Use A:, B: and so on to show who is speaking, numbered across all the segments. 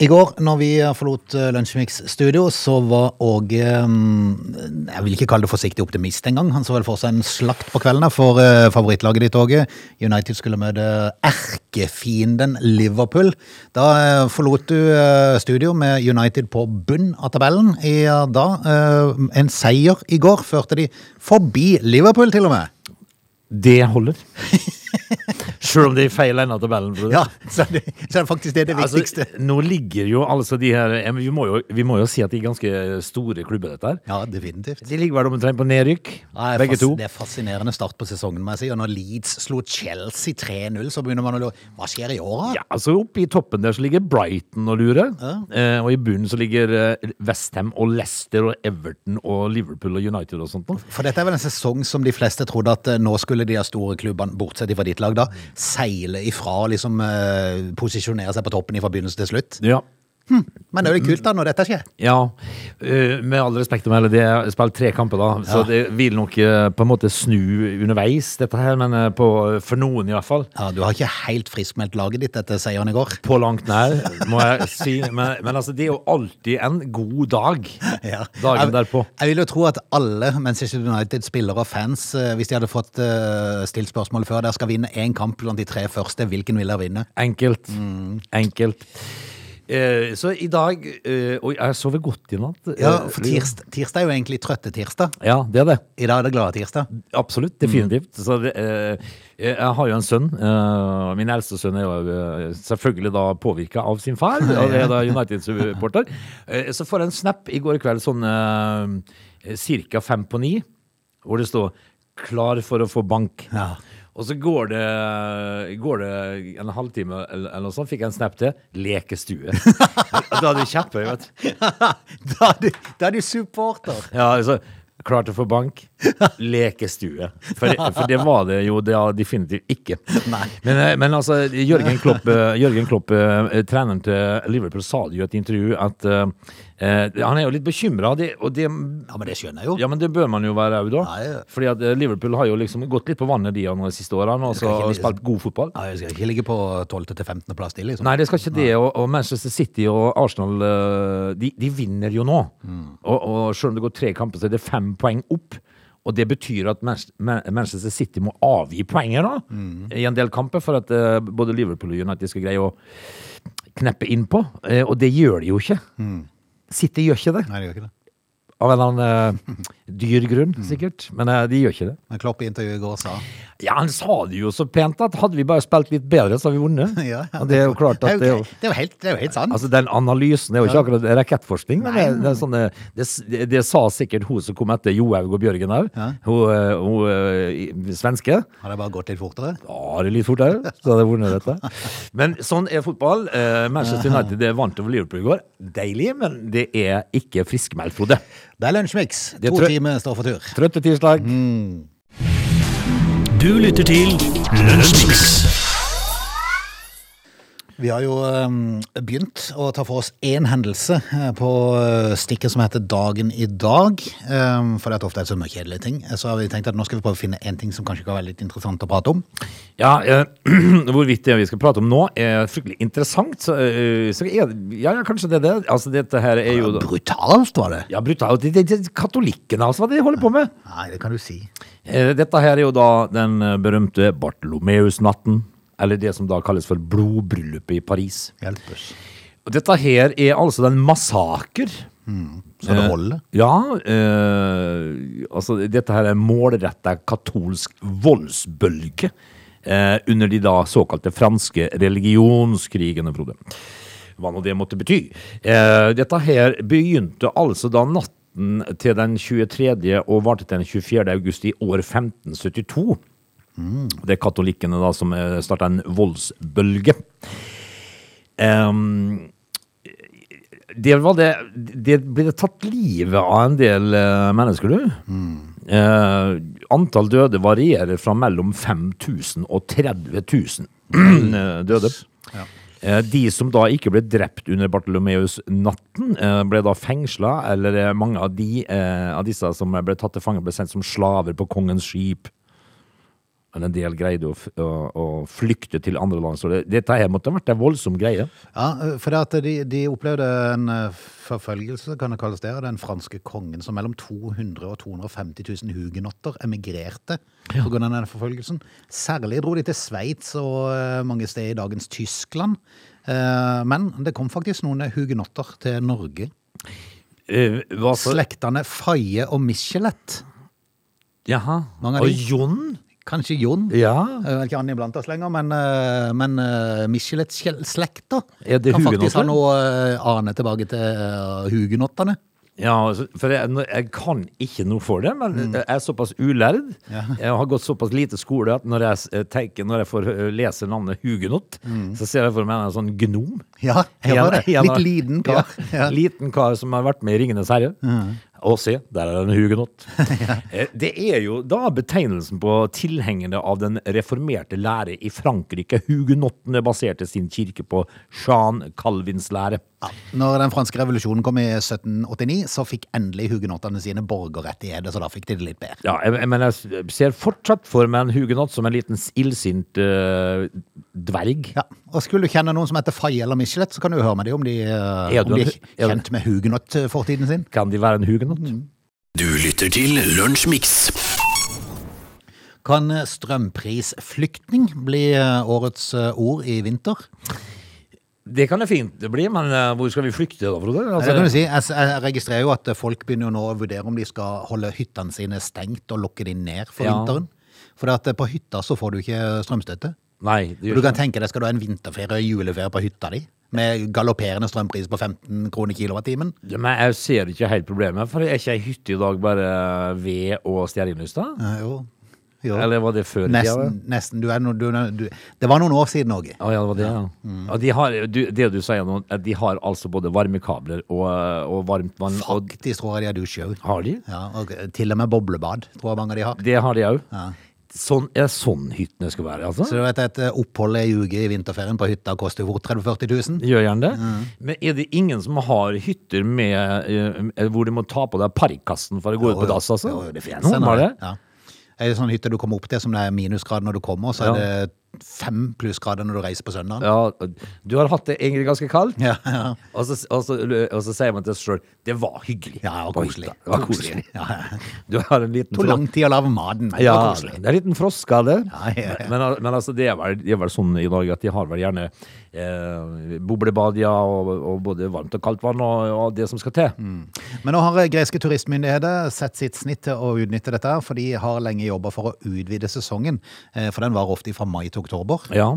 A: I går når vi forlot eh, Lunsjmix studio, så var Åge mm, Jeg vil ikke kalle det forsiktig optimist engang. Han så vel for seg en slakt på kvelden her for eh, favorittlaget ditt, Åge. United skulle møte erkefienden Liverpool. Da eh, forlot du eh, studio med United på bunn av tabellen. I, eh, da, eh, en seier i går førte de forbi Liverpool, til og med.
B: Det holder. Selv om de feiler en av tabellen. Frode.
A: Ja, så er det, så er det faktisk det, det viktigste.
B: Altså, nå ligger jo altså de her eh, vi må, jo, vi må jo si at de er ganske store klubber, dette her.
A: Ja, definitivt.
B: De ligger vel omtrent på nedrykk,
A: Ja, det, er
B: begge
A: fas,
B: to.
A: det er fascinerende start på sesongen. må jeg si. Og når Leeds slo Chelsea 3-0, så begynner man å lure Hva skjer i år, da?
B: Ja, altså Oppe i toppen der så ligger Brighton og lurer. Eh, og i bunnen så ligger eh, Westham og Leicester og Everton og Liverpool og United og sånt. noe.
A: For dette er vel en sesong som de fleste trodde at eh, nå skulle de her store klubbene, bortsett fra ditt lag, da, seile ifra og liksom eh, posisjonere seg på toppen fra begynnelse til slutt.
B: Ja.
A: Men det er jo litt kult, da, når dette skjer.
B: ja. Eh, med all respekt å melde, de har spilt tre kamper, da.
A: Ja.
B: Så det vil nok eh, på en måte snu underveis, dette her. Men eh, på, for noen, i hvert fall.
A: Ja, Du har ikke helt friskmeldt laget ditt etter seieren i går.
B: På langt nær, må jeg si. Men, men altså, det er jo alltid en god dag.
A: Ja.
B: Dagen
A: Jeg-
B: derpå.
A: Jeg vil jo tro at alle Manchester United-spillere og fans, eh, hvis de hadde fått eh, stilt spørsmålet før der, skal vinne én kamp blant de tre første, hvilken vil dere vinne?
B: Enkelt.
A: Mm.
B: Enkelt. Eh, så i dag eh, Oi, jeg sover godt i natt.
A: Ja,
B: Eh,
A: for tirsdag, tirsdag er jo egentlig trøtte tirsdag.
B: Ja, det er det.
A: I dag er det glade tirsdag.
B: Absolutt. Definitivt. Så det, eh, jeg har jo en sønn. eh, min eldste sønn er jo eh, selvfølgelig da påvirka av sin far, og er da United-supporter. Eh, så får jeg en snap i går kveld sånn eh, ca. fem på ni, hvor det står 'klar for å få bank'.
A: Ja.
B: Og så går det, går det en halvtime eller, eller noe sånt, fikk jeg en snap til 'lekestue'. da hadde du kjepphøy, vet du.
A: da, er du, da er du supporter.
B: Ja, altså Klart å få bank. Lekestue. For, for det var det jo det var definitivt ikke.
A: Nei.
B: Men, eh, men altså, Jørgen Klopp, eh, Jørgen Klopp eh, treneren til Liverpool, sa det jo i et intervju at eh, eh, Han er jo litt bekymra, og det
A: Ja, men det skjønner jeg jo.
B: ja, men det bør man jo være òg, da.
A: Ja, ja.
B: Fordi at eh, Liverpool har jo liksom gått litt på vannet de de siste årene, og så
A: skal ikke- liksom
B: spilt god fotball.
A: Ja, jeg skal ikke ligge på 12. til 15. plass til, liksom.
B: Nei, det skal ikke det. Og, og Manchester City og Arsenal eh, de, de vinner jo nå. Og, og selv om det går tre kamper, så er det fem poeng opp. Og det betyr at Manch- Man- Manchester City må avgi poenger da, i en del kamper for at eh, både Liverpool og United skal greie å kneppe inn på. Eh, og det gjør de jo ikke. City gjør ikke det,
A: Nei, det gjør ikke det.
B: av en eller annen eh, dyr grunn, sikkert. Men eh, de gjør ikke det.
A: Men Klopp i intervjuet i går sa
B: Ja, han sa det jo så pent at hadde vi bare spilt litt bedre, så hadde vi vunnet.
A: Ja, ja.
B: Og det er jo klart at det er jo
A: greit. Det er jo helt, det er jo helt sant.
B: Altså, den analysen er jo ikke akkurat rakettforskning, men det, det, er sånne, det, det, det sa sikkert hun som kom etter Johaug og Bjørgen òg,
A: Ja.
B: hun, eh, hun eh, i- svenske.
A: Har det bare gått litt fortere?
B: Ja, det er litt fortere, så hadde jeg vunnet dette. Men sånn er fotball. Eh, Manchester United det vant over Liverpool i går. Deilig, men det er ikke friskmeldt, Frode.
A: Det er lunsjmix.
B: Det
A: To
B: tror-
A: timer står for tur.
B: Trøtte tirsdag.
C: Du lytter til Lunsjmix.
A: Vi har jo ehm, begynt å ta for oss én hendelse eh, på eh, stikket som heter Dagen i dag. Ehm, for det er ofte er så mye kjedelige ting. Eh, Så har vi tenkt at nå skal vi prøve å finne én ting som kanskje kan være litt interessant å prate om.
B: Ja, eh, hvorvidt det vi skal prate om nå er fryktelig interessant, så, eh, så er, ja, ja, kanskje det er det. Altså, dette her er jo
A: Brutalt, var det?
B: Ja, brutalt. Det, det, det, katolikkene, altså, hva de holder på med.
A: Nei, det kan du si.
B: Eh, Dette her er jo da den eh, berømte Bartolomeus-natten, eller det som da kalles for blodbryllupet i Paris.
A: Hjelpes.
B: Og dette her er altså den massaker.
A: Så det holder?
B: Ja, eh, altså dette her er målretta katolsk voldsbølge eh, under de da såkalte franske religionskrigene, Frode. Hva nå det måtte bety. Eh, dette her begynte altså da natten til den 23. og varte til den 24. august i år 1572. Det er katolikkene da som starta en voldsbølge. Ehm, det, var det, det ble tatt livet av en del eh, mennesker, du. Eh, antall døde varierer fra mellom 5000 og 30 000 eh, døde. Eh, De som da ikke ble drept under Bartolomeus-natten, eh, ble da fengsla, eller eh, mange av, de, eh, av disse som ble tatt til fange, ble sendt som slaver på kongens skip. Men en del greide å, f- å, å flykte til andre land. Så det, dette her måtte ha vært en voldsom greie.
A: Ja, eh, for det at de, de opplevde en eh, forfølgelse, kan det kalles det, av den franske kongen som mellom 200 og 250 000 hugenotter emigrerte på grunn av denne forfølgelsen. Særlig dro de til Sveits og eh, mange steder i dagens Tyskland. Eh, Men det kom faktisk noen hugenotter til Norge.
B: Eh, hva for-
A: Slektene Faye og Michelet.
B: Jaha.
A: Mange av
B: Og
A: de-
B: Jon?
A: Kanskje Jon?
B: Ja.
A: Jeg vet ikke Annie blant oss lenger, men, eh, men eh, Michelet-slekta
B: Er det
A: kan faktisk ha
B: hugenotter?
A: noe eh, ane tilbake til eh, hugenottene.
B: Ja, altså, for jeg, nå- jeg kan ikke noe for det, men
A: Mm.
B: jeg er såpass ulærd. Jeg har gått såpass lite skole at når jeg, s- eh, tenker, når jeg får eh, lese navnet Hugenot, så ser jeg for meg en sånn gnom.
A: Mm. Ja, jeg var det.
B: En- en-
A: Litt liten kar. Ja.
B: Ja, Liten kar som har vært med i Ringenes herre. Og se, der er det en hugenott. Eh, Det er jo da betegnelsen på tilhengerne av den reformerte lære i Frankrike. Hugenottene baserte sin kirke på Jean Calvins lære.
A: Når den franske revolusjonen kom i 1789, så fikk endelig hugenottene sine borgerrettigheter, så da fikk de det litt bedre.
B: Ja, jeg, jeg, men jeg s- ser fortsatt for meg en hugenott som en liten s- illsint eh, dverg.
A: Ja, og Skulle du kjenne noen som heter Faye eller Michelet, så kan du høre med dem om de, eh,
B: Er
A: om
B: du
A: de
B: en- er
A: er
B: du-
A: kjent med hugenott-fortiden sin.
B: Kan de være en hugenott?
A: Mm.
C: Du lytter til Lunsjmix.
A: Kan eh, strømprisflyktning bli eh, årets eh, ord i vinter?
B: Det kan det fint bli, men eh, hvor skal vi flykte da, Frode?
A: Det kan
B: Altså,
A: du si. Jeg s- jeg registrerer jo at eh, folk begynner jo nå å vurdere om de skal holde hyttene sine stengt og lokke de ned for
B: Ja.
A: vinteren. For at eh, på hytta så får du ikke eh, strømstøtte.
B: nei, det
A: Og
B: gjør
A: Du
B: ikke
A: kan tenke deg, skal du ha en vinterferie og juleferie på hytta di? Med galopperende strømpris på 15 kroner kilowattimen?
B: Ja, Men jeg ser ikke helt problemet, for er ikke ei hytte i dag bare ved og stearinlys, da?
A: Eh, Jo. jo.
B: Eller var det før i tida?
A: Nesten. nesten. Du er no, du, du, det var noen år siden òg.
B: Å, ja, det var det, ja.
A: Mm.
B: Ja, de har, du, det du sier nå, at de har altså både varmekabler og, eh, og varmt vann. Og,
A: Faktisk tror jeg de har dusj òg.
B: har de?
A: Ja, og til og med boblebad tror jeg mange av de har.
B: Det har de òg. Sånn er sånn hyttene skal være, altså?
A: Så du vet at eh, oppholdet ei uke i vinterferien på hytta koster jo fort 30 000-40 000.
B: Gjør gjerne det. Men er det ingen som har hytter med, eh, hvor de må ta på deg parykkasten for å gå ut på dass, altså?
A: Jo, jo, det finnes en
B: Noen
A: av
B: har det.
A: Ja. Ei sånn hytte du kommer opp til som det er minusgrad når du kommer, og så er
B: Ja.
A: det fem plussgrader når du reiser på søndagen.
B: Ja, du har hatt det egentlig ganske kaldt.
A: Ja, ja.
B: Og, så, og, så, og så sier man til seg sjøl det var hyggelig.
A: Ja, og
B: på
A: koselig.
B: hytta. Det var koselig.
A: Ja, ja.
B: Du har en liten
A: Tog
B: fro-
A: lang tid å lage maten, men det
B: ja,
A: var
B: det
A: koselig.
B: er en liten froskade.
A: Ja, ja, ja.
B: Men, men altså, det er, vel, det er vel sånn i dag at de har vel gjerne eh, boblebad ja, og, og både varmt og kaldt vann og, og det som skal til.
A: Mm. Men nå har greske turistmyndigheter sett sitt snitt til å utnytte dette, her, for de har lenge jobba for å utvide sesongen, eh, for den varer ofte fra mai til oktober.
B: Ja.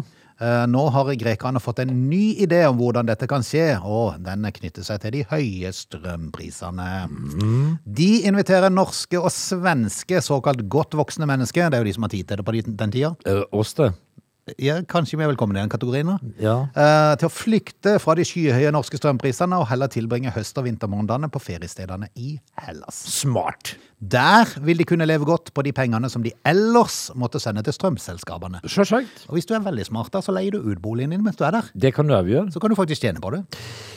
A: Eh, Nå har grekerne fått en ny idé om hvordan dette kan skje, og den knytter seg til de høye strømprisene. De inviterer norske og svenske såkalt godt voksne mennesker, det er jo de som har tid til det på de- den tida,
B: Eh, Oss, det.
A: ja, kanskje vi er velkommen i den kategorien da.
B: Ja.
A: Eh, til å flykte fra de skyhøye norske strømprisene og heller tilbringe høst- og vintermånedene på feriestedene i Hellas.
B: Smart.
A: Der vil de kunne leve godt på de pengene som de ellers måtte sende til strømselskapene.
B: Sjølsagt.
A: Og hvis du er veldig smart, da, så leier du ut boligen din mens du er der.
B: Det kan du òg gjøre.
A: Så kan du faktisk tjene på det.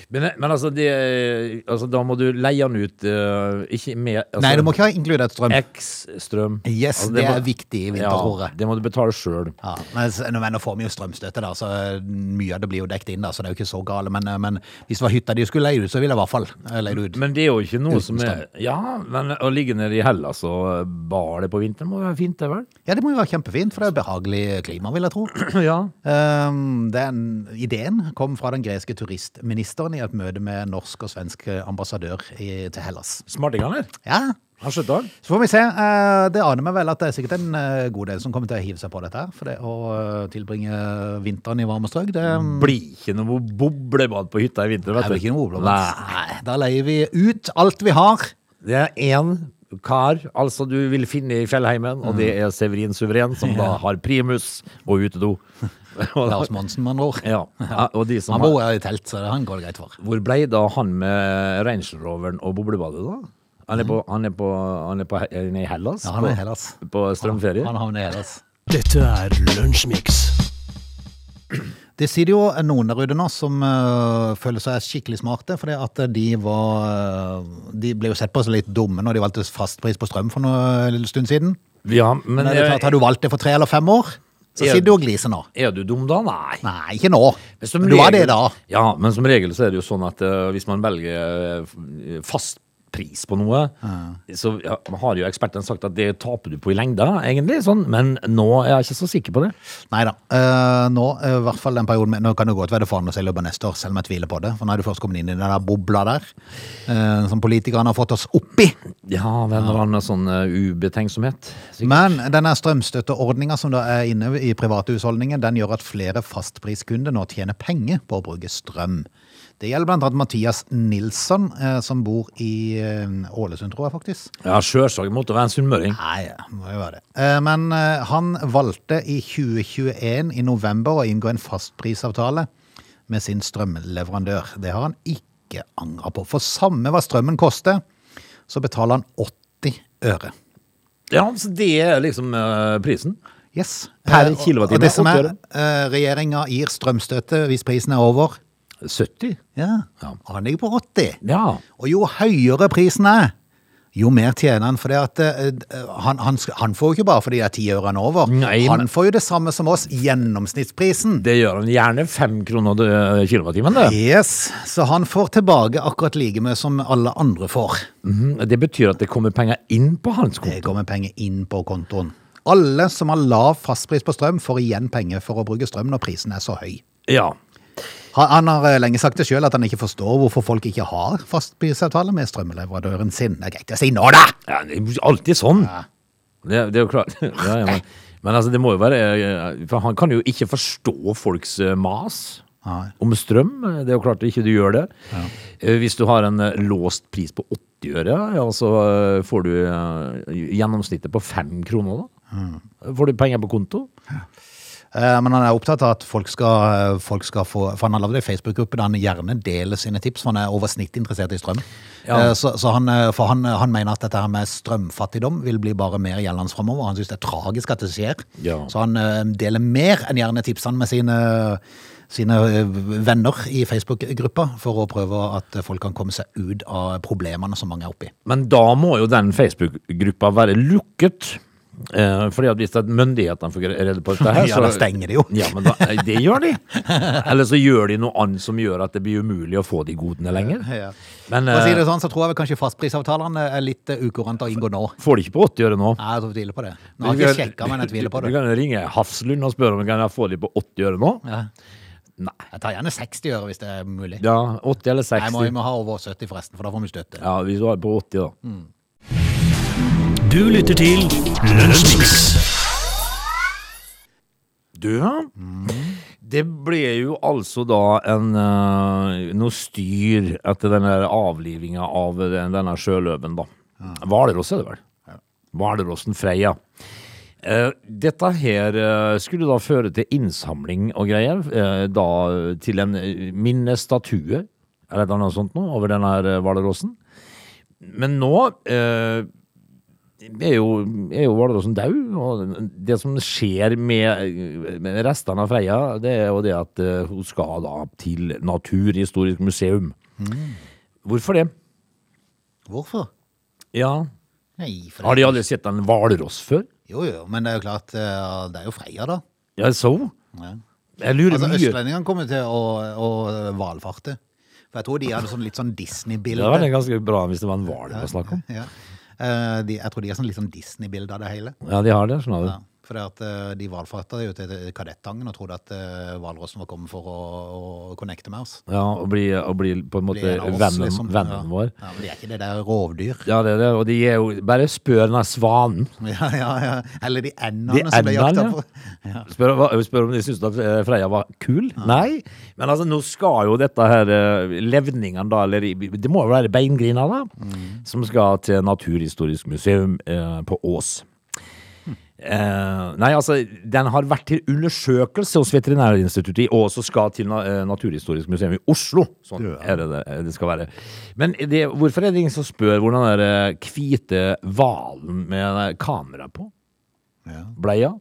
B: Men, men altså, det, altså, da må du leie den ut, eh, ikke med altså,
A: Nei, du må ikke ha inkludert strøm.
B: X-strøm.
A: Yes,
B: Altså,
A: det
B: må-
A: er viktig i vinterfôret.
B: Ja, det må du betale sjøl.
A: Ja, men, s- men nå får vi jo strømstøtte, da, så mm, mye av det blir jo dekt inn, da, så det er jo ikke så gale. Men, eh, men hvis det var hytta de skulle leie ut, så ville jeg i hvert fall eh, leie det ut.
B: Men det er jo ikke noe
A: Uten
B: som er Ja, men å ligge nede i Hellas og bale på vinteren må være fint, det vel?
A: Ja, det må jo være kjempefint, for det er behagelig klima, vil jeg tro.
B: ja.
A: Ehm, Den ideen kom fra den greske turistministeren i et møte med norsk og svensk eh, ambassadør i, til Hellas.
B: Smarting, eller?
A: Ja,
B: Har skjønt han.
A: så får vi se. Eh, Det aner meg vel at det er sikkert en eh, god del som kommer til å hive seg på dette her. For det å eh, tilbringe vinteren i varme strøk, det mm,
B: Blir ikke noe boblebad på hytta i vinter,
A: er
B: vet
A: vel
B: du.
A: ikke noe oblomst.
B: Nei.
A: Nei, da leier vi ut alt vi har.
B: Det er én kar altså du vil finne i fjellheimen, og
A: Mm.
B: det er Severin Suveren, som da har primus og utedo. Og da-
A: Lars Monsen, med andre ord.
B: ja, og de som
A: Han
B: har
A: bor i telt, så det han går det greit for.
B: Hvor ble da han med Ranger Roveren og boblebadet, da? Han er, på, han, er på, han er på He- han er i Hellas?
A: Mm. Ja, han er i
B: på-
A: Hellas.
B: På strømferie?
A: Han havner i Hellas.
C: Dette er Lunsjmix.
A: Det sier jo noen der ute nå som eh, føler seg skikkelig smarte, fordi at de var eh, De ble jo sett på som litt dumme når de valgte fastpris på strøm for noe- en liten stund siden.
B: Ja, men,
A: Men det er
B: eh,
A: klart, Har du valgt det for tre eller fem år, så
B: Ja.
A: sitter du og gliser nå.
B: er du dum da? Nei.
A: Nei, ikke nå.
B: Men som
A: Men Du var det
B: regel-
A: da.
B: Ja, men som regel så er det jo sånn at eh, hvis man velger eh, f- fast pris på noe, så ja, har jo ekspertene sagt at det taper du på i lengda, egentlig, sånn, men nå er jeg ikke så sikker på det.
A: Nei da. nå, eh, i hvert fall den perioden med, nå kan det godt være det forandrer seg i løpet av neste år, selv om jeg tviler på det. For nå er du først kommet inn i den der bobla der, eh, som politikerne har fått oss oppi.
B: Ja, det er en eller annen sånn eh, ubetenksomhet. sikkert.
A: Men denne strømstøtteordninga som da er inne i private husholdninger, den gjør at flere fastpriskunder nå tjener penger på å bruke strøm. Det gjelder blant annet Mathias Nilsson, eh, som bor i eh, Ålesund, tror jeg faktisk.
B: Ja, sjølsagt måtte være en sunnmøring.
A: Nei, det må jo være det. Eh, Men eh, han valgte i 2021 i november å inngå en fastprisavtale med sin strømleverandør. Det har han ikke angra på. For samme hva strømmen koster, så betaler han 80 øre.
B: Ja, så det er liksom eh, prisen.
A: Yes.
B: Per
A: Eh, og-
B: kilowattime,
A: Og det som
B: 80
A: er,
B: øre.
A: regjeringa gir strømstøtte hvis prisen er over.
B: 70?
A: Ja,
B: Ja.
A: og han ligger på 80.
B: Ja.
A: Og jo høyere prisen er, jo mer tjener han. For det at, eh, han, han, sk- han får jo ikke bare fordi det er ti ørene over.
B: Nei,
A: han
B: men-
A: får jo det samme som oss, gjennomsnittsprisen.
B: Det gjør han gjerne fem kroner eh, kilowattimen, det.
A: Yes, Så han får tilbake akkurat like mye som alle andre får.
B: Mhm, Det betyr at det kommer penger inn på hans konto.
A: Det kommer penger inn på kontoen. Alle som har lav fastpris på strøm, får igjen penger for å bruke strøm når prisen er så høy.
B: Ja.
A: Han han har eh, lenge sagt det sjøl, at han ikke forstår hvorfor folk ikke har fastprisavtale med strømleverandøren sin. Det er greit å si nå, da!
B: Ja, det er jo alltid sånn. Det, det er jo klart. Ja, ja, men, men altså, det må jo være eh, For han kan jo ikke forstå folks eh, mas
A: Nei.
B: om strøm. Det er jo klart ikke du gjør det. Eh, Hvis du har en eh, låst pris på 80 øre, ja, så eh, får du eh, gjennomsnittet på 5 kroner, da.
A: Mm.
B: Får du penger på konto?
A: Eh, Men han er opptatt av at folk skal, eh, folk skal få For han har lagd ei Facebook-gruppe der han gjerne deler sine tips, for han er over snittet interessert i strøm.
B: Ja.
A: Eh, Så, så han, eh, for han, han mener at dette her med strømfattigdom vil bli bare mer gjeldende framover. Han syns det er tragisk at det skjer.
B: Ja.
A: Så han eh, deler mer enn gjerne tipsene med sine, sine eh, venner i Facebook-gruppa, for å prøve at folk kan komme seg ut av problemene som mange er oppi.
B: Men da må jo den Facebook-gruppa være lukket. Eh, fordi at hvis det er myndighetene får rede på dette her
A: Ja, da stenger de jo.
B: Ja, men da, det gjør de. Eller så gjør de noe annet som gjør at det blir umulig å få de godene lenger.
A: Ja.
B: Men
A: For å si
B: eh,
A: det sånn, så tror jeg vel kanskje fastprisavtalene er litt eh, ukurante å inngå nå.
B: får de ikke på 80 øre nå?
A: Nei, jeg tror jeg tviler på det. Nå har jeg ikke sjekka, men jeg tviler på
B: Du,
A: det.
B: du kan jo ringe Hafslund og spørre om kan jeg få de på 80 øre nå.
A: Ja.
B: Nei.
A: Jeg tar gjerne 60 øre hvis det er mulig.
B: Ja, 80 eller
A: Nei, jeg må, jeg
B: 60.
A: må ha over 70 forresten, for da får vi støtte.
B: Ja, hvis du har på 80, da.
C: Du lytter til Lunsjmix.
B: Du, ja. Det ble jo altså da en, eh, noe styr etter den der avlivinga av den, denne sjøløven, da. Hvalross er det vel? Hvalrossen Freia. Eh, dette her eh, skulle da føre til innsamling og greier, eh, da til en eh, minnestatue eller et eller annet sånt noe, over denne her, eh, hvalrossen. Men nå eh, er jo, er jo Hvalrossen død, og det som skjer med, med restene av Freia, det er jo det at eh, hun skal da til Naturhistorisk museum.
A: Mm.
B: Hvorfor det?
A: Hvorfor?
B: Ja,
A: Nei, for
B: Har de aldri sett en hvalross før?
A: Jo, jo, men det er jo klart eh, Det er jo Freia, da.
B: Ja, så?
A: Ja.
B: Jeg lurer
A: Altså,
B: mye.
A: Østlendingene kommer til å, å eh, valfarte. For jeg tror de hadde sånn litt sånn
B: Det hadde
A: Disney-bilde.
B: vært ganske bra hvis det var en hval å snakke om.
A: Ja. Eh, de, jeg tror de har sånn litt sånn Disney-bilde av det hele.
B: Ja, de har det, skjønner du.
A: Ja. For det at eh, de valfarta jo til Kadettangen og trodde at eh, hvalrossen var kommet for å, å connecte med oss.
B: Ja, og bli, og bli på en
A: Bli
B: måte
A: en av oss,
B: vennen,
A: liksom.
B: vennen
A: Ja.
B: vår.
A: Ja, men de er ikke det, det er rovdyr.
B: Ja, det er det, og de er jo Bare spør den der svanen.
A: Ja, ja, ja. Eller de endene
B: De
A: som ble jakta
B: endene,
A: på. Ja.
B: Spør, hva- spør om de syntes at eh, Freia var kul? Nei. Men altså, nå skal jo dette her eh, Levningene, da, eller i- Det må jo være beingrina, da. Som skal til Naturhistorisk museum eh, på Ås. Eh, nei, altså, den har vært til undersøkelse hos Veterinærinstituttet i Ås og skal til na eh, Naturhistorisk museum i Oslo. Sånn er det det, det skal være. Men det, hvorfor er det ingen som spør hvor den der eh, hvite hvalen med kamera på?
A: Ja.
B: Bleia?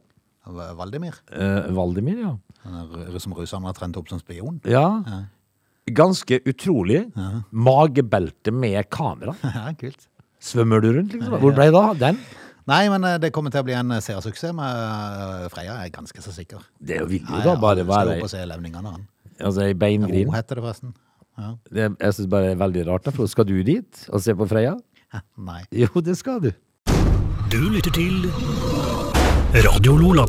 A: V- Valdemir.
B: Eh, Valdemir, ja.
A: Han er, som russeren har trent opp som spion.
B: Ja. Ganske utrolig. Magebelte med kamera.
A: Ja, kult.
B: Svømmer du rundt, liksom? Hvor ble da den?
A: Nei, men eh, det kommer til å bli en eh, seersuksess med eh, Freya, er jeg ganske så sikker.
B: Det vil jo
A: Nei,
B: da bare
A: han
B: være
A: Skal opp og se levningene, han.
B: altså, ei
A: Ro
B: beingrin.
A: heter det forresten. Ja.
B: Det, jeg syns bare det er veldig rart. da, For skal du dit og se på Freya?
A: Hæ, Nei.
B: Jo, det skal du.
C: Du lytter til Radio Lola.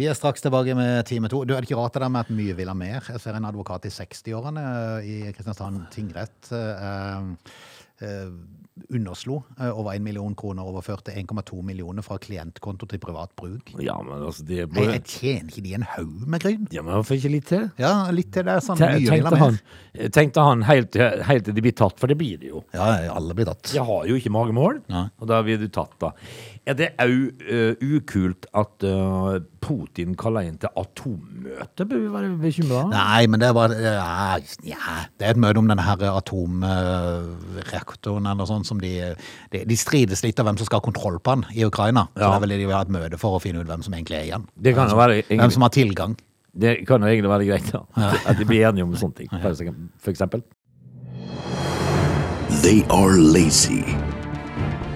A: Vi er straks tilbake med time to. Du, er det ikke rart det der med at mye vil ha mer? Jeg ser en advokat i 60-årene eh, i Kristiansand tingrett eh, eh, underslo eh, over 1 million kroner overførte 1,2 millioner fra klientkonto til privat bruk.
B: Ja, men altså det er
A: Nei,
B: bare...
A: jeg tjener ikke de en haug med gryn?
B: Ja, men Hvorfor ikke litt til?
A: Ja, litt til det er sånn
B: Te-
A: mye vil ha
B: Tenkte
A: mer.
B: han, tenkte han helt, til- helt til de blir tatt, for det blir det jo.
A: Ja, alle blir tatt.
B: Jeg har jo ikke magemål,
A: Nei.
B: og da blir du tatt, da. Er det òg ukult at eh, Putin kaller inn til atommøte? Bør vi være bekymra?
A: Nei, men det er bare ja, ja, Det er et møte om denne her atomreaktoren eller sånn som de, de De strides litt av hvem som skal ha kontroll på den i Ukraina. Så det
B: Ja.
A: er vel det de vil ha et møte for å finne ut hvem som egentlig er igjen.
B: Det kan jo
A: Hvem som-
B: være egentlig-
A: Hvem som har tilgang.
B: Det kan jo egentlig være greit, da. At de blir enige om sånne ting, for eksempel- for eksempel.
D: They are lazy.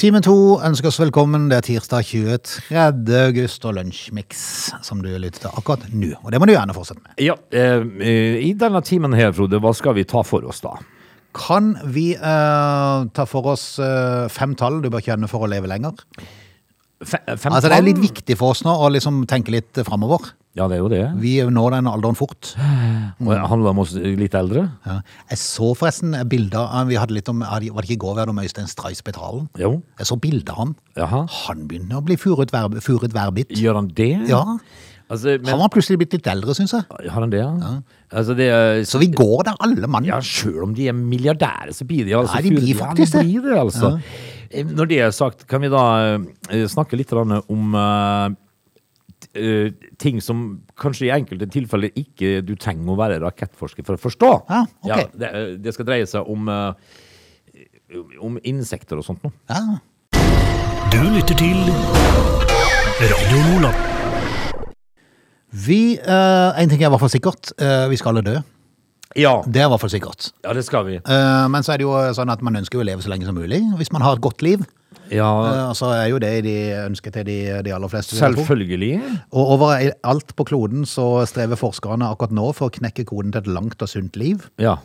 A: Time to ønsker oss velkommen. Det er tirsdag 23. august og Lunsjmix som du lytter til akkurat nå. Og det må du gjerne fortsette med.
B: Ja, eh, eh, i denne timen her, Frode, hva skal vi ta for oss da?
A: Kan vi eh, ta for oss eh, fem tall du bør kjenne for å leve lenger?
B: Fe- fem
A: Altså Det er
B: tall?
A: litt viktig for oss nå å liksom tenke litt framover.
B: Ja, det er jo det.
A: Vi når den alderen fort.
B: Og det handler om oss litt eldre.
A: Ja. Jeg så forresten bilder av Vi hadde litt om Var det ikke i går vi hadde om Øystein Streisbetalen?
B: Jo.
A: Jeg så bilder av han.
B: Jaha.
A: Han begynner å bli furet, verb, furet værbitt.
B: Gjør han det?
A: Ja.
B: Altså, men,
A: Han var plutselig blitt litt eldre, syns jeg.
B: Har han det, ja? Altså, det er
A: Så vi går der, alle mann.
B: Ja, sjøl om de er milliardærer, så blir de altså
A: Nei, de blir
B: fyr-
A: faktisk det.
B: ja, de blir det. altså. Eh, Når det er sagt, kan vi da eh, snakke litt grann om eh, t- eh, ting som kanskje i enkelte tilfeller ikke du trenger å være rakettforsker for å forstå.
A: Ja, ok.
B: det, eh, det skal dreie seg om, eh, om insekter og sånt noe.
A: Ja.
C: Du lytter til Radio Lola.
A: Vi, eh, En ting er i hvert fall sikkert. eh, vi skal alle dø.
B: Ja,
A: Det er i hvert fall sikkert.
B: ja, det skal vi.
A: Eh, men så er det jo sånn at man ønsker jo å leve så lenge som mulig. Hvis man har et godt liv,
B: Ja,
A: eh, så er jo det de ønsker til de, de aller fleste. vil jeg tro.
B: selvfølgelig.
A: Og overalt på kloden så strever forskerne akkurat nå for å knekke koden til et langt og sunt liv.
B: Ja.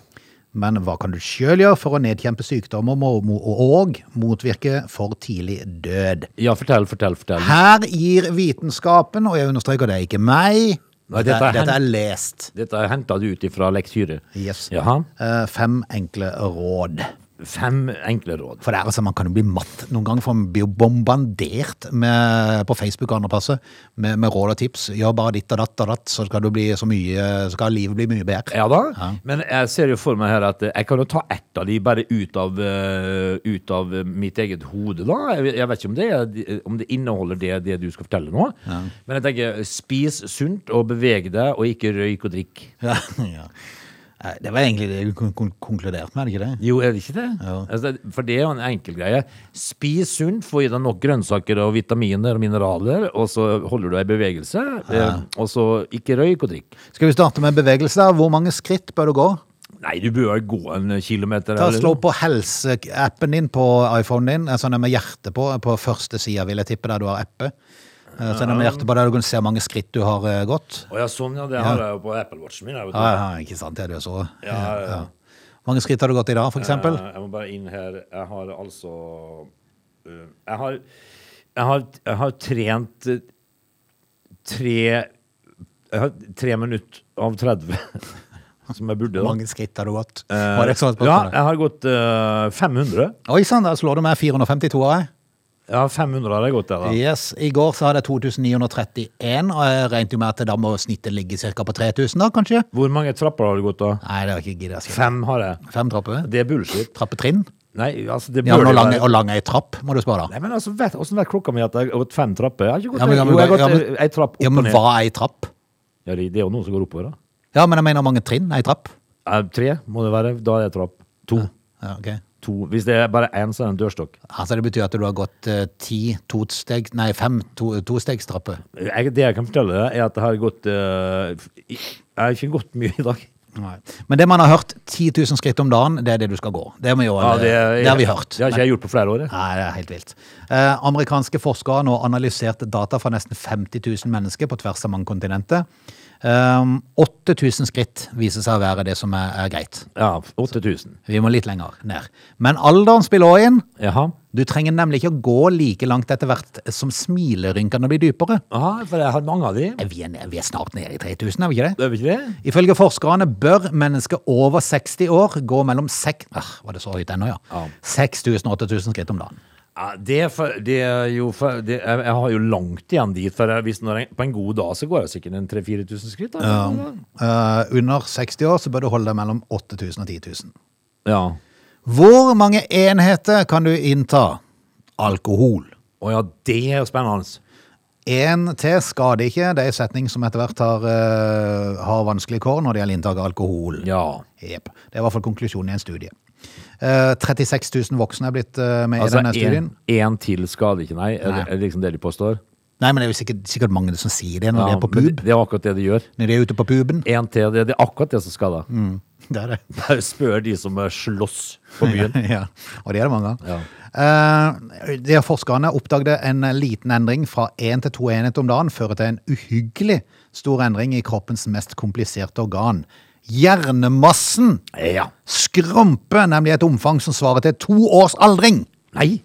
A: Men hva kan du sjøl gjøre for å nedkjempe sykdommer mo- mo- og motvirke for tidlig død?
B: ja, fortell, fortell, fortell.
A: Her gir vitenskapen, og jeg understreker det er ikke meg,
B: Nei, dette
A: dette,
B: er
A: dette
B: hen-
A: er lest,
B: Dette henta du ut ifra lektyre.
A: yes.
B: Jaha.
A: Eh, fem enkle råd.
B: Fem enkle råd.
A: For det er altså, Man kan jo bli matt noen ganger, for man blir jo bombardert med, på Facebook og andre plasser med, med råd og tips. Gjør bare ditt og datt og datt, så skal, du bli så mye, så skal livet bli mye bedre.
B: Ja da, men jeg ser jo for meg her at eh, jeg kan jo ta ett av de bare ut av, eh, ut av eh, mitt eget hode, da. Jeg, jeg vet ikke om det, er de- om det inneholder det, det du skal fortelle nå. Men jeg tenker, spis sunt og beveg deg, og ikke røyk og drikk.
A: Ja, ja. Eh, Det var egentlig det du kon- kon- konkluderte med, er det ikke det?
B: Jo, er det ikke det?
A: Ja.
B: Altså, for det er jo en enkel greie. Spis sunt, få i deg nok grønnsaker og vitaminer og mineraler, og så holder du deg i bevegelse, eh, og så ikke røyk og drikk.
A: Skal vi starte med bevegelse der? Hvor mange skritt bør du gå?
B: Nei, du bør gå en kilometer.
A: Da
B: eller-
A: Slå på helseappen din på iPhonen din, eh, sånn en med hjerte på, på første sida, vil jeg tippe, der du har appe. Eh, Sånn en med hjerte på der du kan se hvor mange skritt du har eh, gått.
B: Å ja, sånn ja, det har jeg jo på Apple Watchen min. Jeg, vet du.
A: Ja, ja, ikke sant, det er det jo så.
B: Ja, ja, ja.
A: Hvor mange skritt har du gått i dag, for eksempel?
B: Eh, Jeg må bare inn her. Jeg har altså eh, Jeg har, jeg har, jeg har trent eh, tre Jeg har tre minutter av 30, som jeg burde,
A: Hvor
B: da.
A: mange skritt har du gått?
B: Eh,
A: Var det et sånt
B: ja,
A: spørsmål?
B: jeg har gått eh, 500.
A: sånn, Oi sann, der slår du meg 452 av deg.
B: Ja, 500 hadde gått der, da.
A: Yes, I går så hadde jeg 2931, og jeg regnet jo med at da må snittet ligge ca. på 3000, da, kanskje?
B: Hvor mange trapper har det gått, da?
A: Nei, det har jeg ikke giddet å si.
B: Fem har jeg.
A: Fem trapper?
B: Det er bullshit.
A: Trappetrinn?
B: Nei, altså, det
A: Ja, men
B: bør det
A: og lang,
B: være.
A: og lang er ei trapp, må du spørre, da.
B: Nei, men altså, vet, hvordan vet klokka mi at jeg har gått fem trapper? Jeg har ikke gått
A: Ja, men- ja, men-
B: jo, jeg har
A: ja,
B: gått
A: men-
B: eh, ei trapp opp
A: Ja, men
B: og ned.
A: hva er ei trapp?
B: Ja, det det er jo noen som går oppover, da.
A: Ja, men jeg mener mange trinn er ei trapp.
B: Eh, tre må det være. Da er det trapp. To.
A: Ja, ok.
B: to. Hvis det er bare én, så er det en dørstokk.
A: Altså, det betyr at du har gått eh, ti tosteg... Nei, fem to, tostegstrapper.
B: Jeg, det jeg kan fortelle deg, er at jeg har gått eh, f- i- Jeg har ikke gått mye i dag.
A: Men det man har hørt, 10 000 skritt om dagen, det er det du skal gå. Det, må jo,
B: Ja,
A: det,
B: er-
A: har vi hørt.
B: Det har ikke jeg gjort på flere år. jeg.
A: Nei, det er helt vilt. Eh, amerikanske forskere har nå analysert data fra nesten 50 000 mennesker på tvers av mange kontinenter. Um, 8000 skritt viser seg å være det som er, er greit.
B: Ja, 8000.
A: Vi må litt lenger ned. Men alderen spiller også inn.
B: Jaha.
A: Du trenger nemlig ikke å gå like langt etter hvert som smilerynkene blir dypere.
B: Aha, for jeg har mange av de.
A: Eh, Vi er, ned- vi er snart nede i 3000, er vi ikke det?
B: Er vi ikke det?
A: Ifølge forskerne bør mennesker over 60 år gå mellom sek... Ah, var det så høyt ennå, ja?
B: Ja.
A: 6000 og 8000 skritt om dagen.
B: Ja, det, er for, det er jo for, det, jeg, jeg har jo langt igjen dit. For jeg, hvis når jeg, på en god dag så går jeg sikkert en 3000-4000 skritt. Da.
A: Eh, under 60 år så bør du holde deg mellom 8000 og 10 000.
B: Ja.
A: Hvor mange enheter kan du innta alkohol?
B: Å ja, det er jo spennende.
A: Én til skader ikke. Det er en setning som etter hvert har, eh, har vanskelige kår når det gjelder inntak av alkohol.
B: Ja.
A: Jep. Det er i hvert fall konklusjonen i en studie. Eh, 36 000 voksne er blitt eh, med i
B: Altså,
A: denne studien.
B: én til skader ikke, nei. Er det, er det liksom det de påstår?
A: Nei, men Det er jo sikkert, sikkert mange som sier det når de
B: Ja,
A: er på
B: men
A: pub.
B: Det, det er akkurat det de gjør.
A: Når de er ute på puben.
B: Én til, det, det er akkurat det som skader.
A: Mm. Det er det.
B: Bare spør de som eh, slåss på byen.
A: ja, og det er det mange av.
B: Ja.
A: Eh, de her forskerne oppdaget en liten endring fra én til to enheter om dagen fører til en uhyggelig stor endring i kroppens mest kompliserte organ. Hjernemassen
B: ja.
A: skrumper nemlig et omfang som svarer til to års aldring.
B: Nei!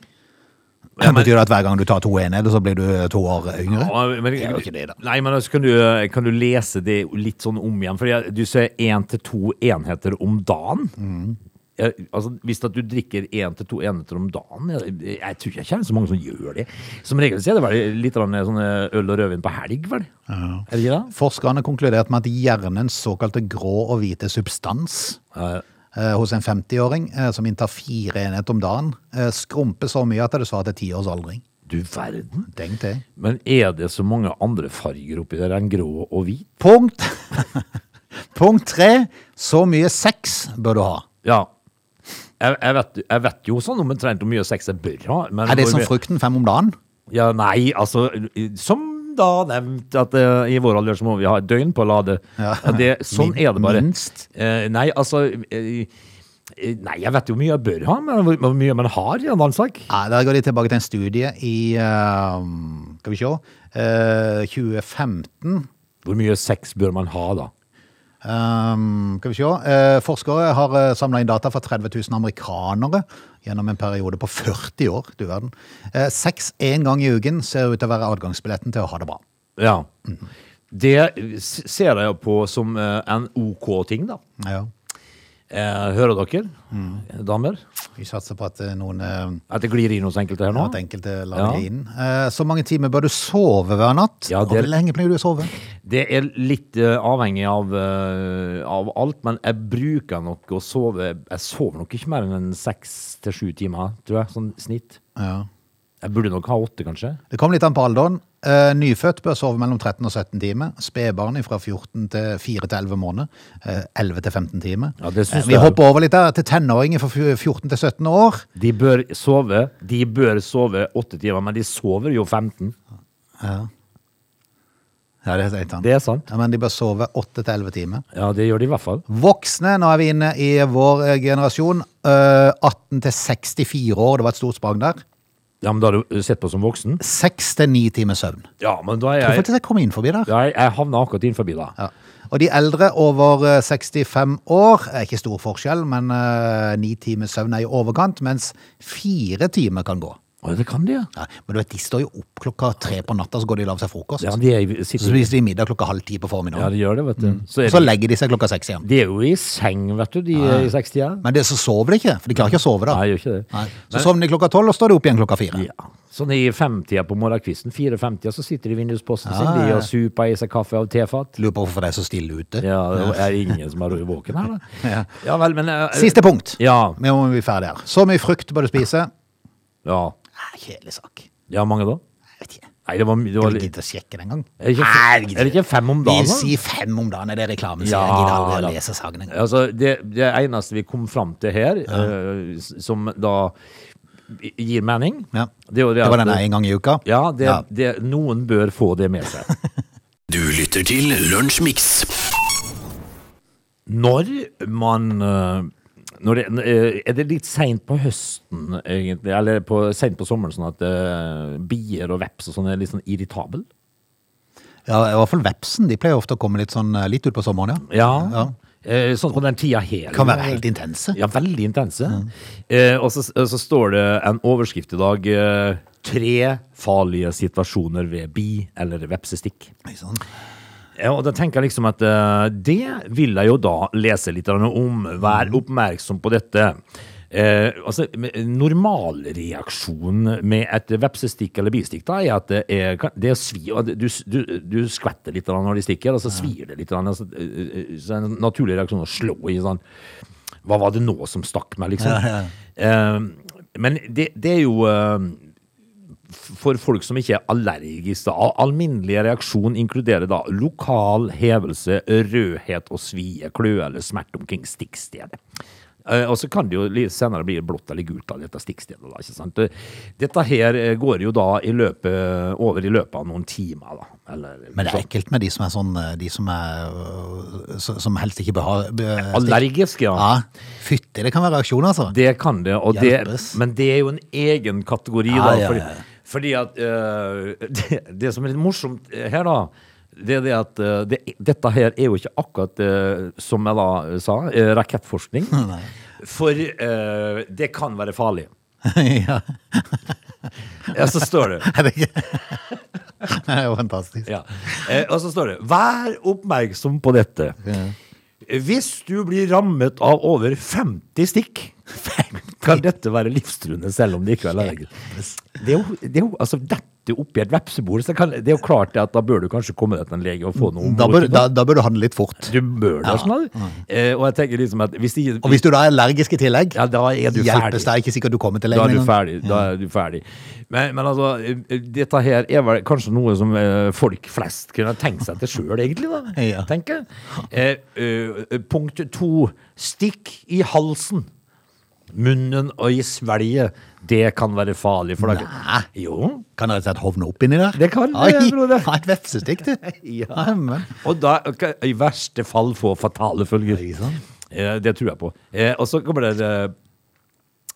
A: Det betyr det at hver gang du tar to enheter, så blir du eh, to år yngre?
B: Ja, men,
A: Det er jo ikke det, da.
B: Nei, men altså, kan, du, kan du lese det litt sånn om igjen? For jeg- du sier én til to enheter om dagen.
A: Mm.
B: Jeg, altså, hvis at du drikker én til to enheter om dagen jeg, jeg tror ikke jeg kjenner så mange som gjør det. Som regel så er det vel litt grann sånn eh, øl og rødvin på helg, vel? Er det ikke det?
A: Forskerne konkluderte med at hjernens såkalte grå og hvite substans eh, hos en 50-åring eh, som inntar fire enheter om dagen, eh, skrumper så mye at det svarer til ti års aldring.
B: Du verden.
A: Tenk det.
B: Men er det så mange andre farger oppi der enn grå og hvit?
A: Punkt. Punkt tre. Så mye sex bør du ha.
B: Ja. Jeg, jeg, vet, jeg vet jo sånn omtrent hvor mye sex jeg bør ha. Men
A: Er det
B: hvor
A: som
B: mye-
A: frukten fem om dagen?
B: Ja, nei, altså Som da nevnt, at eh, i vår alder så må vi ha et døgn på å lade. Ja, Det, sånn
A: Min-
B: er det bare.
A: minst.
B: Eh, nei, altså eh, eh, Nei, jeg vet jo hvor mye jeg bør ha, men hvor hvor mye man har, i en annen sak.
A: Nei, der går de tilbake til en studie i eh, Skal vi se eh, 2015.
B: Hvor mye sex bør man ha, da?
A: Ehm, skal vi se. Eh, forskere har uh, samla inn data fra 30 000 amerikanere gjennom en periode på 40 år. du verden. Eh, sex én gang i uken ser ut til å være adgangsbilletten til å ha det bra.
B: Ja. Det s- ser jeg jo på som eh, en OK ting, da.
A: Ja.
B: Eh, hører dere,
A: Mm.
B: damer?
A: Vi satser på at eh, noen eh,
B: At det glir inn hos enkelte her nå?
A: at enkelte
B: Ja.
A: lager det inn. Eh, så mange timer bør du sove hver natt.
B: Ja,
A: Og
B: det-
A: hvor lenge pleier du å sove?
B: Det er litt eh, avhengig av, eh, av alt, men jeg bruker nok å sove Jeg sover nok ikke mer enn en seks til sju timer, tror jeg, sånn snitt.
A: Ja.
B: Jeg burde nok ha åtte, kanskje.
A: Det kommer litt an på alderen. Eh, nyfødt bør sove mellom 13 og 17 timer. Spedbarn fra 14 til 4 til 11 måneder. Eh, 11 til 15 timer. Eh,
B: Ja, det synes
A: vi
B: jeg jo.
A: hopper over litt der til tenåringer fra fj- 14 til 17 år.
B: De bør sove De bør sove åtte timer, men de sover jo 15.
A: Ja, det er helt sant.
B: Det er sant.
A: Ja, men de bør sove 8 til 11 timer.
B: Ja, det gjør de i hvert fall.
A: Voksne, nå er vi inne i vår eh, generasjon, eh, 18 til 64 år. Det var et stort sprang der.
B: Ja, men Da har du sett på som voksen?
A: 6 til 9 timer søvn.
B: Ja, men da er
A: Jeg tror
B: jeg
A: faktisk jeg kom inn forbi der.
B: ja, jeg- Jeg havna akkurat innenfor, da.
A: Ja. Og de eldre over eh, 65 år er ikke stor forskjell, men eh, ni timer søvn er i overkant, mens fire timer kan gå.
B: Å, det kan de, ja.
A: Ja, men du vet, de står jo opp klokka tre på natta, så går de og lager seg frokost.
B: ja de er, i-
A: Så
B: sitter,
A: spiser de middag klokka halv ti på
B: ja,
A: formiddagen.
B: de gjør det, vet du. Mm. Så
A: så
B: er de,
A: legger de seg klokka seks igjen.
B: de er jo i seng, vet du, de er i 60
A: Men det, så sover de ikke, for de klarer ikke å sove da.
B: Nei, gjør ikke det.
A: Nei. Så sovner de klokka tolv, og står de opp igjen klokka fire.
B: Ja. Sånn i femtida på morgenkvisten, 4.50, så sitter de i vindusposten sin
A: Ja, ja,
B: de
A: ja.
B: og super i seg kaffe og tefat.
A: Lurer på hvorfor det er så stille ute.
B: Ja, det er ingen som er våken her, da. Ja, vel, men eh,
A: Siste punkt.
B: Ja.
A: Vi må bli ferdig her. Så mye frukt bør du spise.
B: ja.
A: Nei, Kjedelig sak.
B: Ja, mange da?
A: Jeg vet ikke.
B: Nei, det var, det
A: Jeg
B: var
A: vil ikke gidde å sjekke det engang.
B: Er det ikke, er det ikke fem om
A: Vi
B: dagen? da?
A: sier fem om dagen, er det reklamen sier.
B: Ja,
A: Jeg gidder aldri
B: da.
A: å lese saken engang.
B: Altså, det, det eneste vi kom fram til her, eh, s- som da gir mening
A: Ja.
B: Det, er jo det
A: Det var
B: at-
A: den en gang i uka.
B: Ja, det,
A: Ja.
B: Det, noen bør få det med seg.
C: Du lytter til Lunsjmix.
B: Når man eh, når det, eh, Er det litt seint på høsten, egentlig? Eller på, seint på sommeren, sånn at eh, bier og veps og sånn er litt sånn irritabel?
A: Ja, I hvert fall vepsen. De pleier ofte å komme litt, sånn, eh, litt ut på sommeren, ja.
B: Ja. Eh, sånn på den tida her.
A: Kan være helt intense.
B: Ja, veldig intense. Eh, og så, så står det en overskrift i dag. Eh, tre farlige situasjoner ved bi- eller vepsestikk.
A: Ikke sant?
B: Ja, og da tenker jeg liksom at eh, det vil jeg jo da lese litt grann om. Vær oppmerksom på dette. Eh, altså, Normalreaksjonen med et vepsestikk eller bistikk da, er at det er, kan- det er svi, og det- du, du, du skvetter litt grann når de stikker, og så svir det litt. grann, Altså, eh, eh, så er det en naturlig reaksjon å slå i sånn Hva var det nå som stakk meg, liksom? Eh, men det, det er jo eh, for folk som ikke er allergiske. da. Al- Alminnelig reaksjon inkluderer da lokal hevelse, rødhet og svie, kløe eller smerte omkring stikkstedet. Eh, Og så kan det jo litt senere bli blått eller gult av dette stikkstedet. Da, ikke sant? Eh, Dette her eh, går jo da i løpet, over i løpet av noen timer. Da. Eller,
A: Men det er ekkelt med de som er sånn eh, De som, er, øh, så- som helst ikke bør ha bør-
B: Allergisk, ja.
A: Ja. Fytti, det kan være reaksjon, altså.
B: Det kan det, og det,
A: Hjelpes.
B: men det er jo en egen kategori,
A: Ja,
B: da.
A: ja, ja.
B: Fordi, fordi at eh, det, det som er litt morsomt eh, her, da, det er det at eh, det, dette her er jo ikke akkurat, eh, som jeg da sa, eh, rakettforskning.
A: Hm.
B: For eh, det kan være farlig.
A: ja.
B: Ja, så står det.
A: Er det ikke? det er jo fantastisk.
B: Ja. Eh, og så står det Vær oppmerksom på dette. Hvis du blir rammet av over 50 stikk, kan dette være livstruende selv om det ikke er allergisk. Det er jo, det er jo altså dette oppi et vepsebol, så kan, det er jo klart det at da bør du kanskje komme deg til en lege og få noe
A: Da bør,
B: mot det.
A: da, da bør du handle litt fort.
B: Du bør det, sånn. Eh, og jeg tenker liksom at hvis de,
A: Og hvis du da er allergisk i tillegg,
B: Ja, da er du ferdig.
A: hjelpes det er ikke sikkert du kommer til
B: Da er
A: legen
B: du
A: engang.
B: ferdig. Da er du ferdig. Men, men altså, eh, dette her er vel kanskje noe som eh, folk flest kunne tenkt seg til sjøl, egentlig. da,
A: Ja.
B: tenker jeg. Eh, eh, punkt to. Stikk i halsen. Munnen og i svelget. Det kan være farlig for deg.
A: Nei.
B: Jo.
A: Kan det rett og slett hovne opp inni der?
B: Det kan det,
A: Oi,
B: broder.
A: Ha et vepsestikk, du.
B: Ja.
A: Nei, men.
B: Og da kan i verste fall få fatale følger.
A: Ikke sant?
B: Eh, Det tror jeg på. Eh, Og så kommer det eh,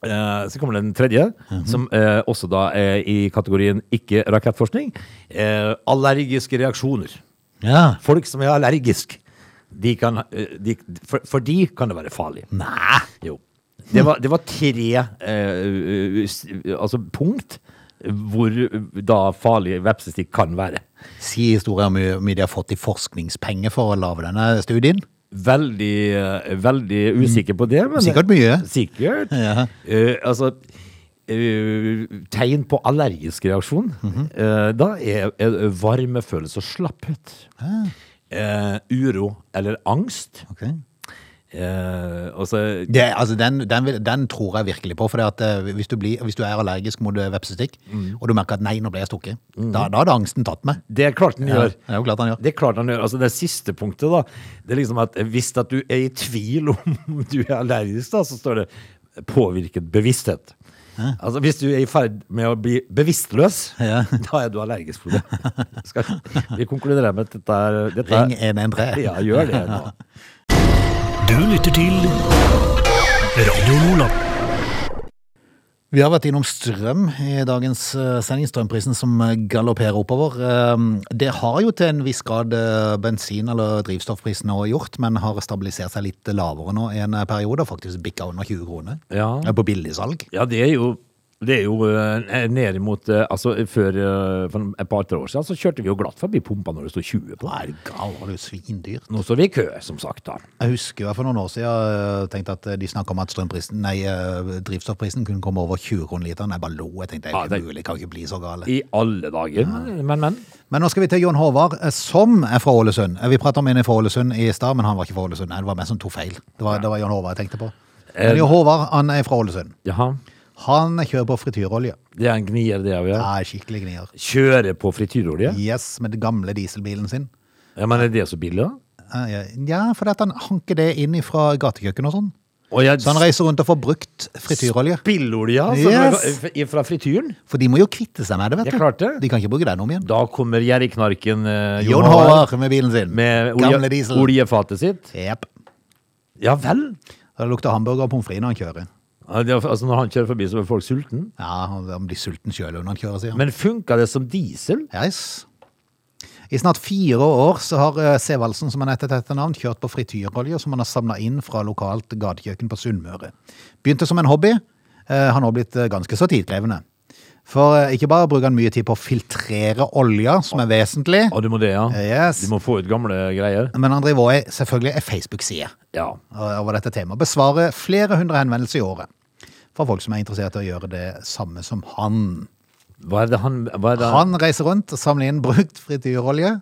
B: eh, så kommer det den tredje,
A: Mhm.
B: som eh, også da er i kategorien ikke rakettforskning. Eh, allergiske reaksjoner.
A: Ja.
B: Folk som er allergisk, de kan, eh, de, for, for de kan det være farlig.
A: Nei.
B: Jo. Det var, det var tre eh, s- altså punkt hvor da farlige vepsestikk kan være.
A: Si historien om hvor mye de har fått i forskningspenger for å lage denne studien.
B: Veldig, eh, veldig usikker på det. Men
A: Sikkert mye.
B: Sikkert.
A: Ja.
B: Eh, altså, eh, tegn på allergisk reaksjon,
A: Mhm.
B: eh, da er, er varmefølelse og slapphet.
A: Ah.
B: Eh, uro eller angst.
A: Okay.
B: Eh, og så
A: Det, altså den, den, vil- den tror jeg virkelig på. For hvis, du blir- hvis du er allergisk mot eh, vepsestikk,
B: Mm.
A: og du merker at 'nei, nå ble jeg stukket', da, da hadde angsten tatt meg.
B: Det er klart den Mm. gjør.
A: det er jo klart han gjør.
B: Det er klart han gjør. Altså det siste punktet, da. Det er liksom at hvis at du er i tvil om du er allergisk, da, så står det 'påvirket bevissthet'. Altså Hvis du er i ferd med å bli bevisstløs,
A: Ja.
B: da er du allergisk for det. Skal, vi konkluderer med at dette er dette er-
A: Ring 113.
B: Ja, gjør det nå.
C: Du lytter til Radio Lola.
A: Vi har vært innom strøm i dagens eh, sending, strømprisen som eh, galopperer oppover. Eh, Det har jo til en viss grad eh, bensin- eller drivstoffprisen også gjort, men har stabilisert seg litt lavere nå i en eh, periode, faktisk bikka under 20 kroner.
B: Ja.
A: Det er På billigsalg.
B: ja, det er jo Det er jo eh, ned imot eh, Altså, før eh, for et par-tre år siden så kjørte vi jo glatt forbi pumpa når det sto 20 på.
A: Hva er det gal, var det jo svindyrt?
B: Nå står vi i kø, som sagt, da.
A: Jeg husker jo jeg for noen år siden øh, tenkte at øh, de snakket om at strømprisen, nei, øh, drivstoffprisen kunne komme over 20 kroner literen. Jeg bare lo, jeg tenkte det
B: Ja,
A: er ikke
B: det-
A: mulig, kan ikke bli så gale.
B: I alle dager. Men, men.
A: Men nå skal vi til Jon Håvard, eh, som er fra Ålesund. Eh, Vi pratet om en fra Ålesund i stad, men han var ikke fra Ålesund. Nei, det var meg som tok feil. Det var, det var Jon Håvard jeg tenkte på. Men
B: Eh,
A: Jon Håvard, han er fra Ålesund.
B: Jaha.
A: Han kjører på frityrolje.
B: Det er en gnier, det òg, ja.
A: Ja, skikkelig gnier.
B: Kjøre på frityrolje?
A: Yes, med den gamle dieselbilen sin.
B: Ja, men er det så billig, da?
A: Eh, Ja, for at han hanker det inn fra gatekjøkken og sånn.
B: Og jeg,
A: Så han reiser rundt og får brukt frityrolje.
B: Spillolje altså,
A: Yes.
B: fra frityren?
A: For de må jo kvitte seg med det, vet
B: Det
A: du.
B: er klart det.
A: De kan ikke bruke den om igjen.
B: Da kommer gjerriknarken eh,
A: Jon Håvard med bilen sin.
B: med
A: Gamle
B: olje,
A: diesel.
B: oljefatet sitt.
A: Jep.
B: Ja vel?
A: Det lukter hamburger og pommes frites når han kjører.
B: Ja, det er- Altså, når han kjører forbi, så blir folk sultne.
A: Ja, han han blir sulten sjøl når han kjører, sier han.
B: Men funka det som diesel?
A: Yes. I snart fire år så har eh, Sevaldsen, som han heter til etternavn, kjørt på frityrolje som han har samla inn fra lokalt gatekjøkken på Sunnmøre. Begynte som en hobby. eh, Han har blitt eh, ganske så tidkrevende. For eh, ikke bare bruker han mye tid på å filtrere olja, som er vesentlig,
B: Å, du må det, ja?
A: Yes.
B: Du må få ut gamle greier?
A: men han driver òg selvfølgelig ei Facebook-side
B: Ja.
A: eh, over dette temaet. Besvarer flere hundre henvendelser i året fra folk som er interessert i å gjøre det samme som han.
B: Hva er det han hva er det?
A: Han reiser rundt og samler inn brukt frityrolje.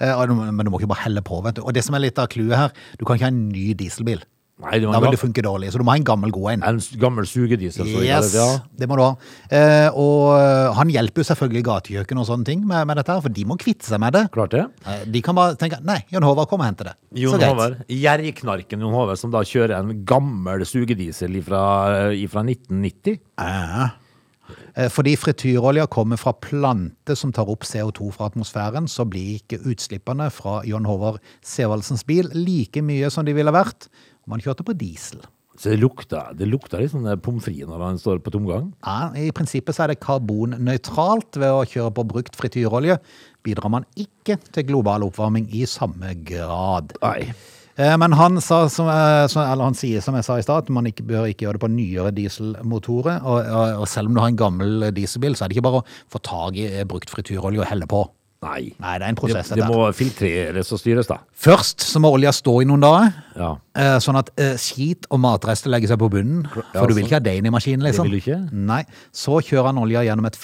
A: Eh, og du må- Men du må ikke bare helle på. vet du. Og det som er litt av clouet her, du kan ikke ha en ny dieselbil.
B: Nei, det
A: Da
B: var
A: vil
B: en,
A: det
B: gam-
A: funke dårlig. Så du må ha en gammel, god en.
B: en s- gammel sugediesel. så jeg
A: Yes,
B: kaller det,
A: det må du ha. Eh, Og eh, han hjelper jo selvfølgelig gatekjøkken og sånne ting med, med dette, her, for de må kvitte seg med det.
B: Ja. Klart det.
A: Eh, De kan bare tenke nei, Jon Håvard, kom og hente det.
B: Jon
A: Så greit.
B: Håvard. Gjerriknarken Jon Håvard, som da kjører en gammel sugediesel fra 1990.
A: Eh, Fordi frityrolja kommer fra planter som tar opp CO2 fra atmosfæren, så blir ikke utslippene fra John Håvard Sevaldsens bil like mye som de ville vært om han kjørte på diesel.
B: Så det lukter, det lukter litt sånn der pommes frites når han står på tomgang.
A: Ja, I prinsippet så er det karbonnøytralt ved å kjøre på brukt frityrolje. Bidrar man ikke til global oppvarming i samme grad.
B: Nei.
A: Eh, Men han, sa, som, eh, som- eller han sier som jeg sa i stad, at man ikke, bør ikke gjøre det på nyere dieselmotorer. Og, og, og selv om du har en gammel dieselbil, så er det ikke bare å få tak i eh, brukt frityrolje og helle på.
B: Nei.
A: Nei, det er en prosess,
B: Det, det
A: dette.
B: må filtreres og styres, da.
A: Først så må olja stå i noen dager,
B: Ja.
A: eh, sånn at eh, skit og matrester legger seg på bunnen. For du vil
B: altså.
A: ikke ha det inn i maskinen, liksom.
B: vil du ikke.
A: Nei. Så kjører han olja gjennom et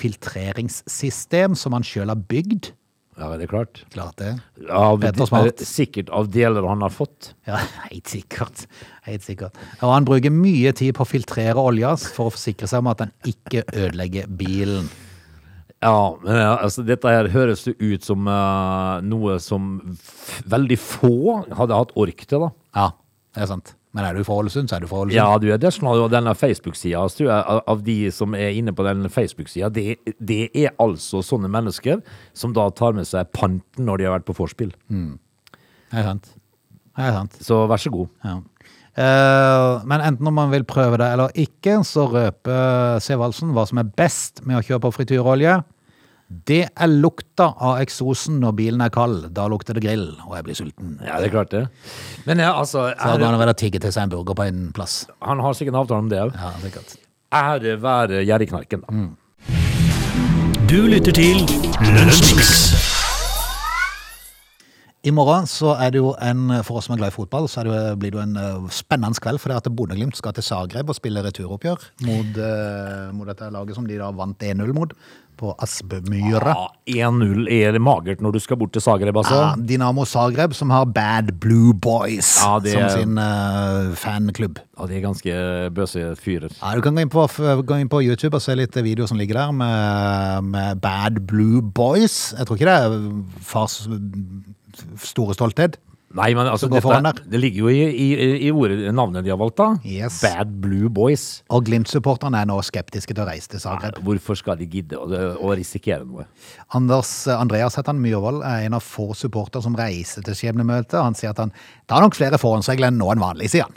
A: filtreringssystem som han sjøl har bygd.
B: Ja, det er klart.
A: Klart det.
B: Av,
A: Fett og smart.
B: eh, sikkert av deler han har fått.
A: Ja, helt sikkert. Helt sikkert. Og han bruker mye tid på å filtrere olja for å forsikre seg om at den ikke ødelegger bilen.
B: Ja, men eh, altså, dette her høres det ut som eh, noe som f veldig få hadde hatt ork til, da.
A: Ja, det er sant. Men er du fra Ålesund, så er du fra Ålesund.
B: Ja, du er dødsnå av denne Facebook-sida. altså, tror jeg, Av av de som er inne på den Facebook-sida, det, det er altså sånne mennesker som da tar med seg panten når de har vært på vorspiel.
A: Det er sant. Det er sant.
B: Så vær så god.
A: Ja. Eh, men enten om man vil prøve det eller ikke, så røper Sevaldsen hva som er best med å kjøre på frityrolje. Det er lukta av eksosen når bilen er kald. Da lukter det grill, og jeg blir sulten.
B: Ja, det er klart det. Men ja, altså
A: Da kan
B: ære,
A: det være å tigge til seg en burger på en plass.
B: Han har sikkert en avtale om det òg.
A: Ja, sikkert.
B: Ære være gjerriknarken, da.
C: Du lytter til Lunsjmix.
A: I morgen så er det jo en, for oss som er glad i fotball, så er det, jo- blir det jo en eh, spennende kveld. For det er at Bodø-Glimt skal til Zagreb og spille returoppgjør mot, eh, mot dette laget som de da vant 1-0 mot, på Aspmyra.
B: Ja, 1-0 er magert når du skal bort til Zagreb, altså.
A: Ja, Dinamo Zagreb, som har Bad Blue Boys
B: Ja, det
A: som
B: er-
A: sin eh, fanklubb.
B: Ja, de er ganske bøse fyrer.
A: Ja, du kan gå inn, på, gå inn på YouTube og se litt videoer som ligger der med, med Bad Blue Boys. Jeg tror ikke det er fars store stolthet.
B: Nei, men altså,
A: Så gå foran der.
B: det ligger jo i, i, i ordet, navnet de har valgt, da.
A: Yes.
B: Bad Blue Boys.
A: Og Glimt-supporterne er nå skeptiske til å reise til Zagreb.
B: Eh, Hvorfor skal de gidde å, å risikere noe?
A: Anders, eh, Andreas heter han Myhrvold, er en av få supporter som reiser til skjebnemøtet. Han sier at han tar nok flere forhåndsregler enn nå enn vanlig, sier han.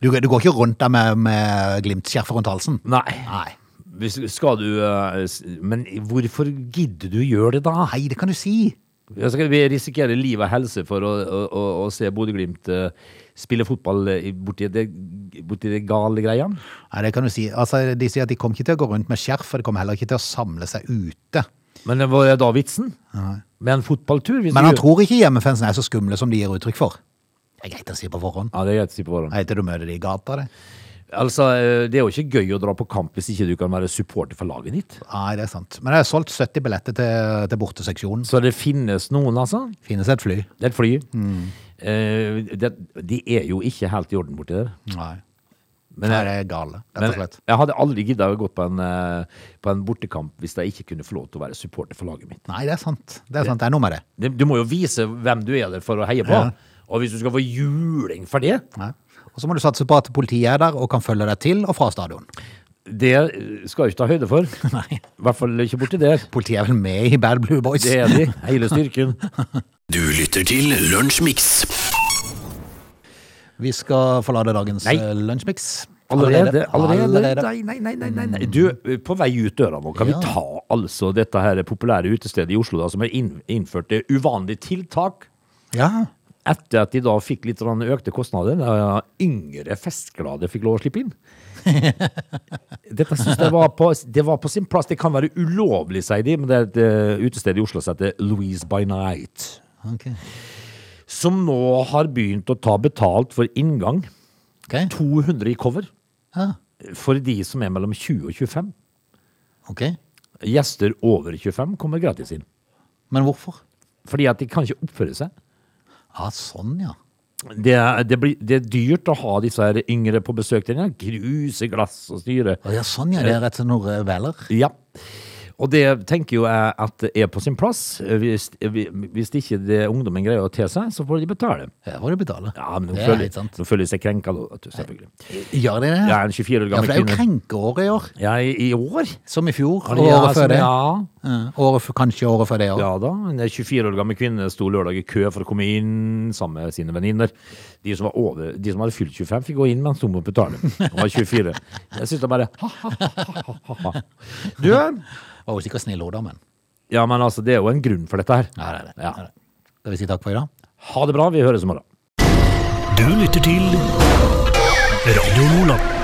A: Du, du går ikke rundt der med, med Glimt-skjerfet rundt halsen?
B: Nei.
A: Nei.
B: Hvis, skal du eh, s- Men hvorfor gidder du gjøre det, da?
A: Nei, det kan du si.
B: Ja, så kan vi risikere liv og helse for å, å, å, å se Bodø-Glimt eh, spille fotball i- borti det, borti det gale greia?
A: Nei, det kan du si. Altså, de sier at de kom ikke til å gå rundt med skjerf, og de kom heller ikke til å samle seg ute.
B: Men det var jo da vitsen? Med en fotballtur? Hvis
A: Men han
B: du-
A: tror ikke hjemmefansen er så skumle som de gir uttrykk for. Det er greit å si på forhånd.
B: Ja, det er greit å si på forhånd.
A: Nei, til du møter de i gata, det.
B: Altså, eh, det er jo ikke gøy å dra på kamp hvis ikke du kan være supporter for laget ditt.
A: Nei, det er sant. Men jeg har solgt 70 billetter til, til borteseksjonen.
B: Så det finnes noen, altså.
A: Finnes et fly.
B: Det er et fly.
A: Mm.
B: Eh, det, de er jo ikke helt i orden borti der.
A: Nei.
B: Men
A: Nei,
B: jeg-
A: det er gale, rett
B: Men
A: og slett.
B: jeg hadde aldri gidda å gå på en, eh, på en bortekamp hvis jeg ikke kunne få lov til å være supporter for laget mitt.
A: Nei, det er sant. Det er sant, det er noe med det.
B: Det- Du må jo vise hvem du er der for å heie på.
A: Ja.
B: Og hvis du skal få juling for det,
A: Nei. Og så må du satse på at politiet er der og kan følge deg til og fra stadion.
B: det eh, skal jeg ikke ta høyde for.
A: Nei.
B: I hvert fall ikke borti der.
A: Politiet er vel med i Bad Blue Boys?
B: Det er de. Hele styrken.
C: Du lytter til Lunsjmix.
A: Vi skal forlate dagens
B: Nei.
A: eh, lunsjmix.
B: Allerede? Allerede?
A: Allerede.
B: Nei, nei, nei, nei, nei, nei. Du, eh, på vei ut døra nå, kan
A: Ja.
B: vi ta altså dette her populære utestedet i Oslo da, som har inn, innført det uvanlige tiltak
A: Ja.
B: etter at de da fikk litt sånn økte kostnader, da yngre festglade fikk lov å slippe inn. Dette synes jeg var på, det var på sin plass. Det kan være ulovlig, sier de, men det er et eh, utested i Oslo som heter Louise by Night,
A: Ok.
B: som nå har begynt å ta betalt for inngang.
A: Ok.
B: 200 i cover
A: Ja.
B: for de som er mellom 20 og 25.
A: ok.
B: Gjester over 25 kommer gratis inn.
A: Men hvorfor?
B: Fordi at de kan ikke oppføre seg.
A: Ja, sånn, ja.
B: Det er, det, blir, det er dyrt å ha disse her yngre på besøk. Den er gruse glass og styre.
A: Å, ja sånn, ja. Det er rett og slett noe veler.
B: Ja. Og det tenker jo jeg at er på sin plass. Hvis, hvis ikke det ungdommen greier å te seg, så får de betale.
A: Her får du betale.
B: Ja, men nå
A: det er
B: føler,
A: helt sant.
B: nå føler de seg krenka, da, vet du, selvfølgelig.
A: Gjør de det?
B: Jeg er en 24 år
A: Ja, for
B: gammel
A: det er jo
B: kvinne.
A: krenkeåret i år.
B: Ja, i, i år?
A: Som i fjor, og
B: Ja,
A: året
B: som-
A: før det.
B: Ja,
A: Ja, Året, f- kanskje året før det òg.
B: Ja da, en 24 år gammel kvinne sto lørdag i kø for å komme inn sammen med sine venninner. De som, var over, de som hadde fylt 25 fikk gå inn mens hun måtte betale. Hun var 24. Jeg synes det bare ha-ha-ha-ha. Du, eh?
A: Var jo sikkert snill, Oda, men
B: ja men altså, det er jo en grunn for dette her.
A: Ja, det er det.
B: Ja.
A: Det er det. Skal vi si takk for i dag?
B: Ha det bra, vi høres i morgen.
C: Du lytter til Radio Nordland.